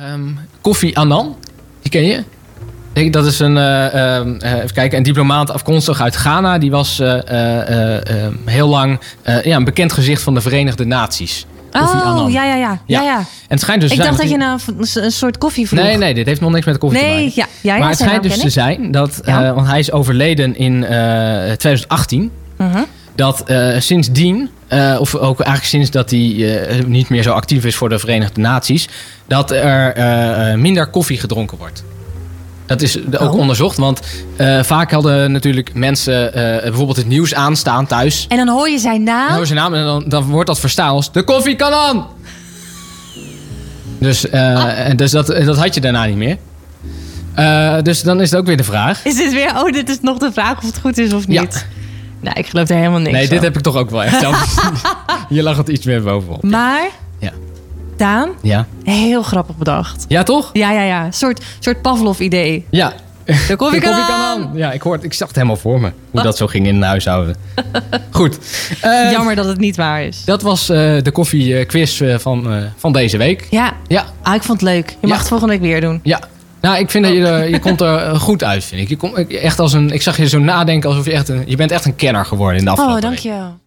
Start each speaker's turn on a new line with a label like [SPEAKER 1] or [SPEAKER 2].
[SPEAKER 1] Ehm, Kofi Annan, die ken je? Ik- Dat is een, eh, ehm, eh, even kijken, een diplomaat afkomstig uit Ghana. Die was eh, eh, eh, ehm, heel lang eh, ja, een bekend gezicht van de Verenigde Naties. Kofi
[SPEAKER 2] Oh,
[SPEAKER 1] Annan.
[SPEAKER 2] ja, ja, ja.
[SPEAKER 1] Ja.
[SPEAKER 2] ja. ja.
[SPEAKER 1] En het schijnt dus
[SPEAKER 2] Ik
[SPEAKER 1] te
[SPEAKER 2] dacht dat je
[SPEAKER 1] zijn-
[SPEAKER 2] nou v- een soort koffie vroeg.
[SPEAKER 1] Nee, nee, dit heeft nog niks met de koffie te
[SPEAKER 2] Nee,
[SPEAKER 1] maken.
[SPEAKER 2] ja, ja, ja,
[SPEAKER 1] maar het
[SPEAKER 2] zijn
[SPEAKER 1] schijnt
[SPEAKER 2] naam
[SPEAKER 1] dus te
[SPEAKER 2] ken ik.
[SPEAKER 1] zijn dat,
[SPEAKER 2] Ja.
[SPEAKER 1] eh, want hij is overleden in eh, 2018.
[SPEAKER 2] Mhm.
[SPEAKER 1] dat eh, sindsdien, eh, of ook eigenlijk sinds dat hij eh, niet meer zo actief is voor de Verenigde Naties, dat er eh, eh, minder koffie gedronken wordt. Dat is de- ook
[SPEAKER 2] Oh.
[SPEAKER 1] onderzocht, want eh, vaak hadden natuurlijk mensen eh, bijvoorbeeld het nieuws aanstaan thuis.
[SPEAKER 2] En dan hoor je zijn naam.
[SPEAKER 1] Nou, zijn naam, en dan, dan wordt dat verstaan als de koffie kan aan! Dus, eh,
[SPEAKER 2] Ah.
[SPEAKER 1] en dus dat, dat had je daarna niet meer. Eh, dus dan is het ook weer de vraag.
[SPEAKER 2] Is dit weer, oh, dit is nog de vraag of het goed is of
[SPEAKER 1] Ja.
[SPEAKER 2] niet. Nou, ik geloof er helemaal niks
[SPEAKER 1] Nee, dit
[SPEAKER 2] van.
[SPEAKER 1] heb ik toch ook wel echt. zelf gezien. je lag het iets meer bovenop.
[SPEAKER 2] Maar,
[SPEAKER 1] Ja.
[SPEAKER 2] Daan,
[SPEAKER 1] Ja.
[SPEAKER 2] heel grappig bedacht.
[SPEAKER 1] Ja, toch?
[SPEAKER 2] Ja, ja, ja. Een soort, soort Pavlov-idee.
[SPEAKER 1] Ja.
[SPEAKER 2] De koffie kan aan.
[SPEAKER 1] Ja, ik, hoorde, ik zag het helemaal voor me. Hoe dat zo ging in een huishouden. Goed. Eh,
[SPEAKER 2] Jammer dat het niet waar is.
[SPEAKER 1] Dat was eh, de koffiequiz eh, van, eh, van deze week.
[SPEAKER 2] Ja,
[SPEAKER 1] Ja.
[SPEAKER 2] ah, ik vond het leuk. Je mag
[SPEAKER 1] Ja.
[SPEAKER 2] het volgende week weer doen.
[SPEAKER 1] Ja. Nou, ik vind dat je, er- je komt er eh, goed uit, eh, vind ik. Je komt echt als een, ik zag je zo nadenken alsof je echt een... Je bent echt een kenner geworden in de afgelopen
[SPEAKER 2] Oh,
[SPEAKER 1] week.
[SPEAKER 2] dankjewel.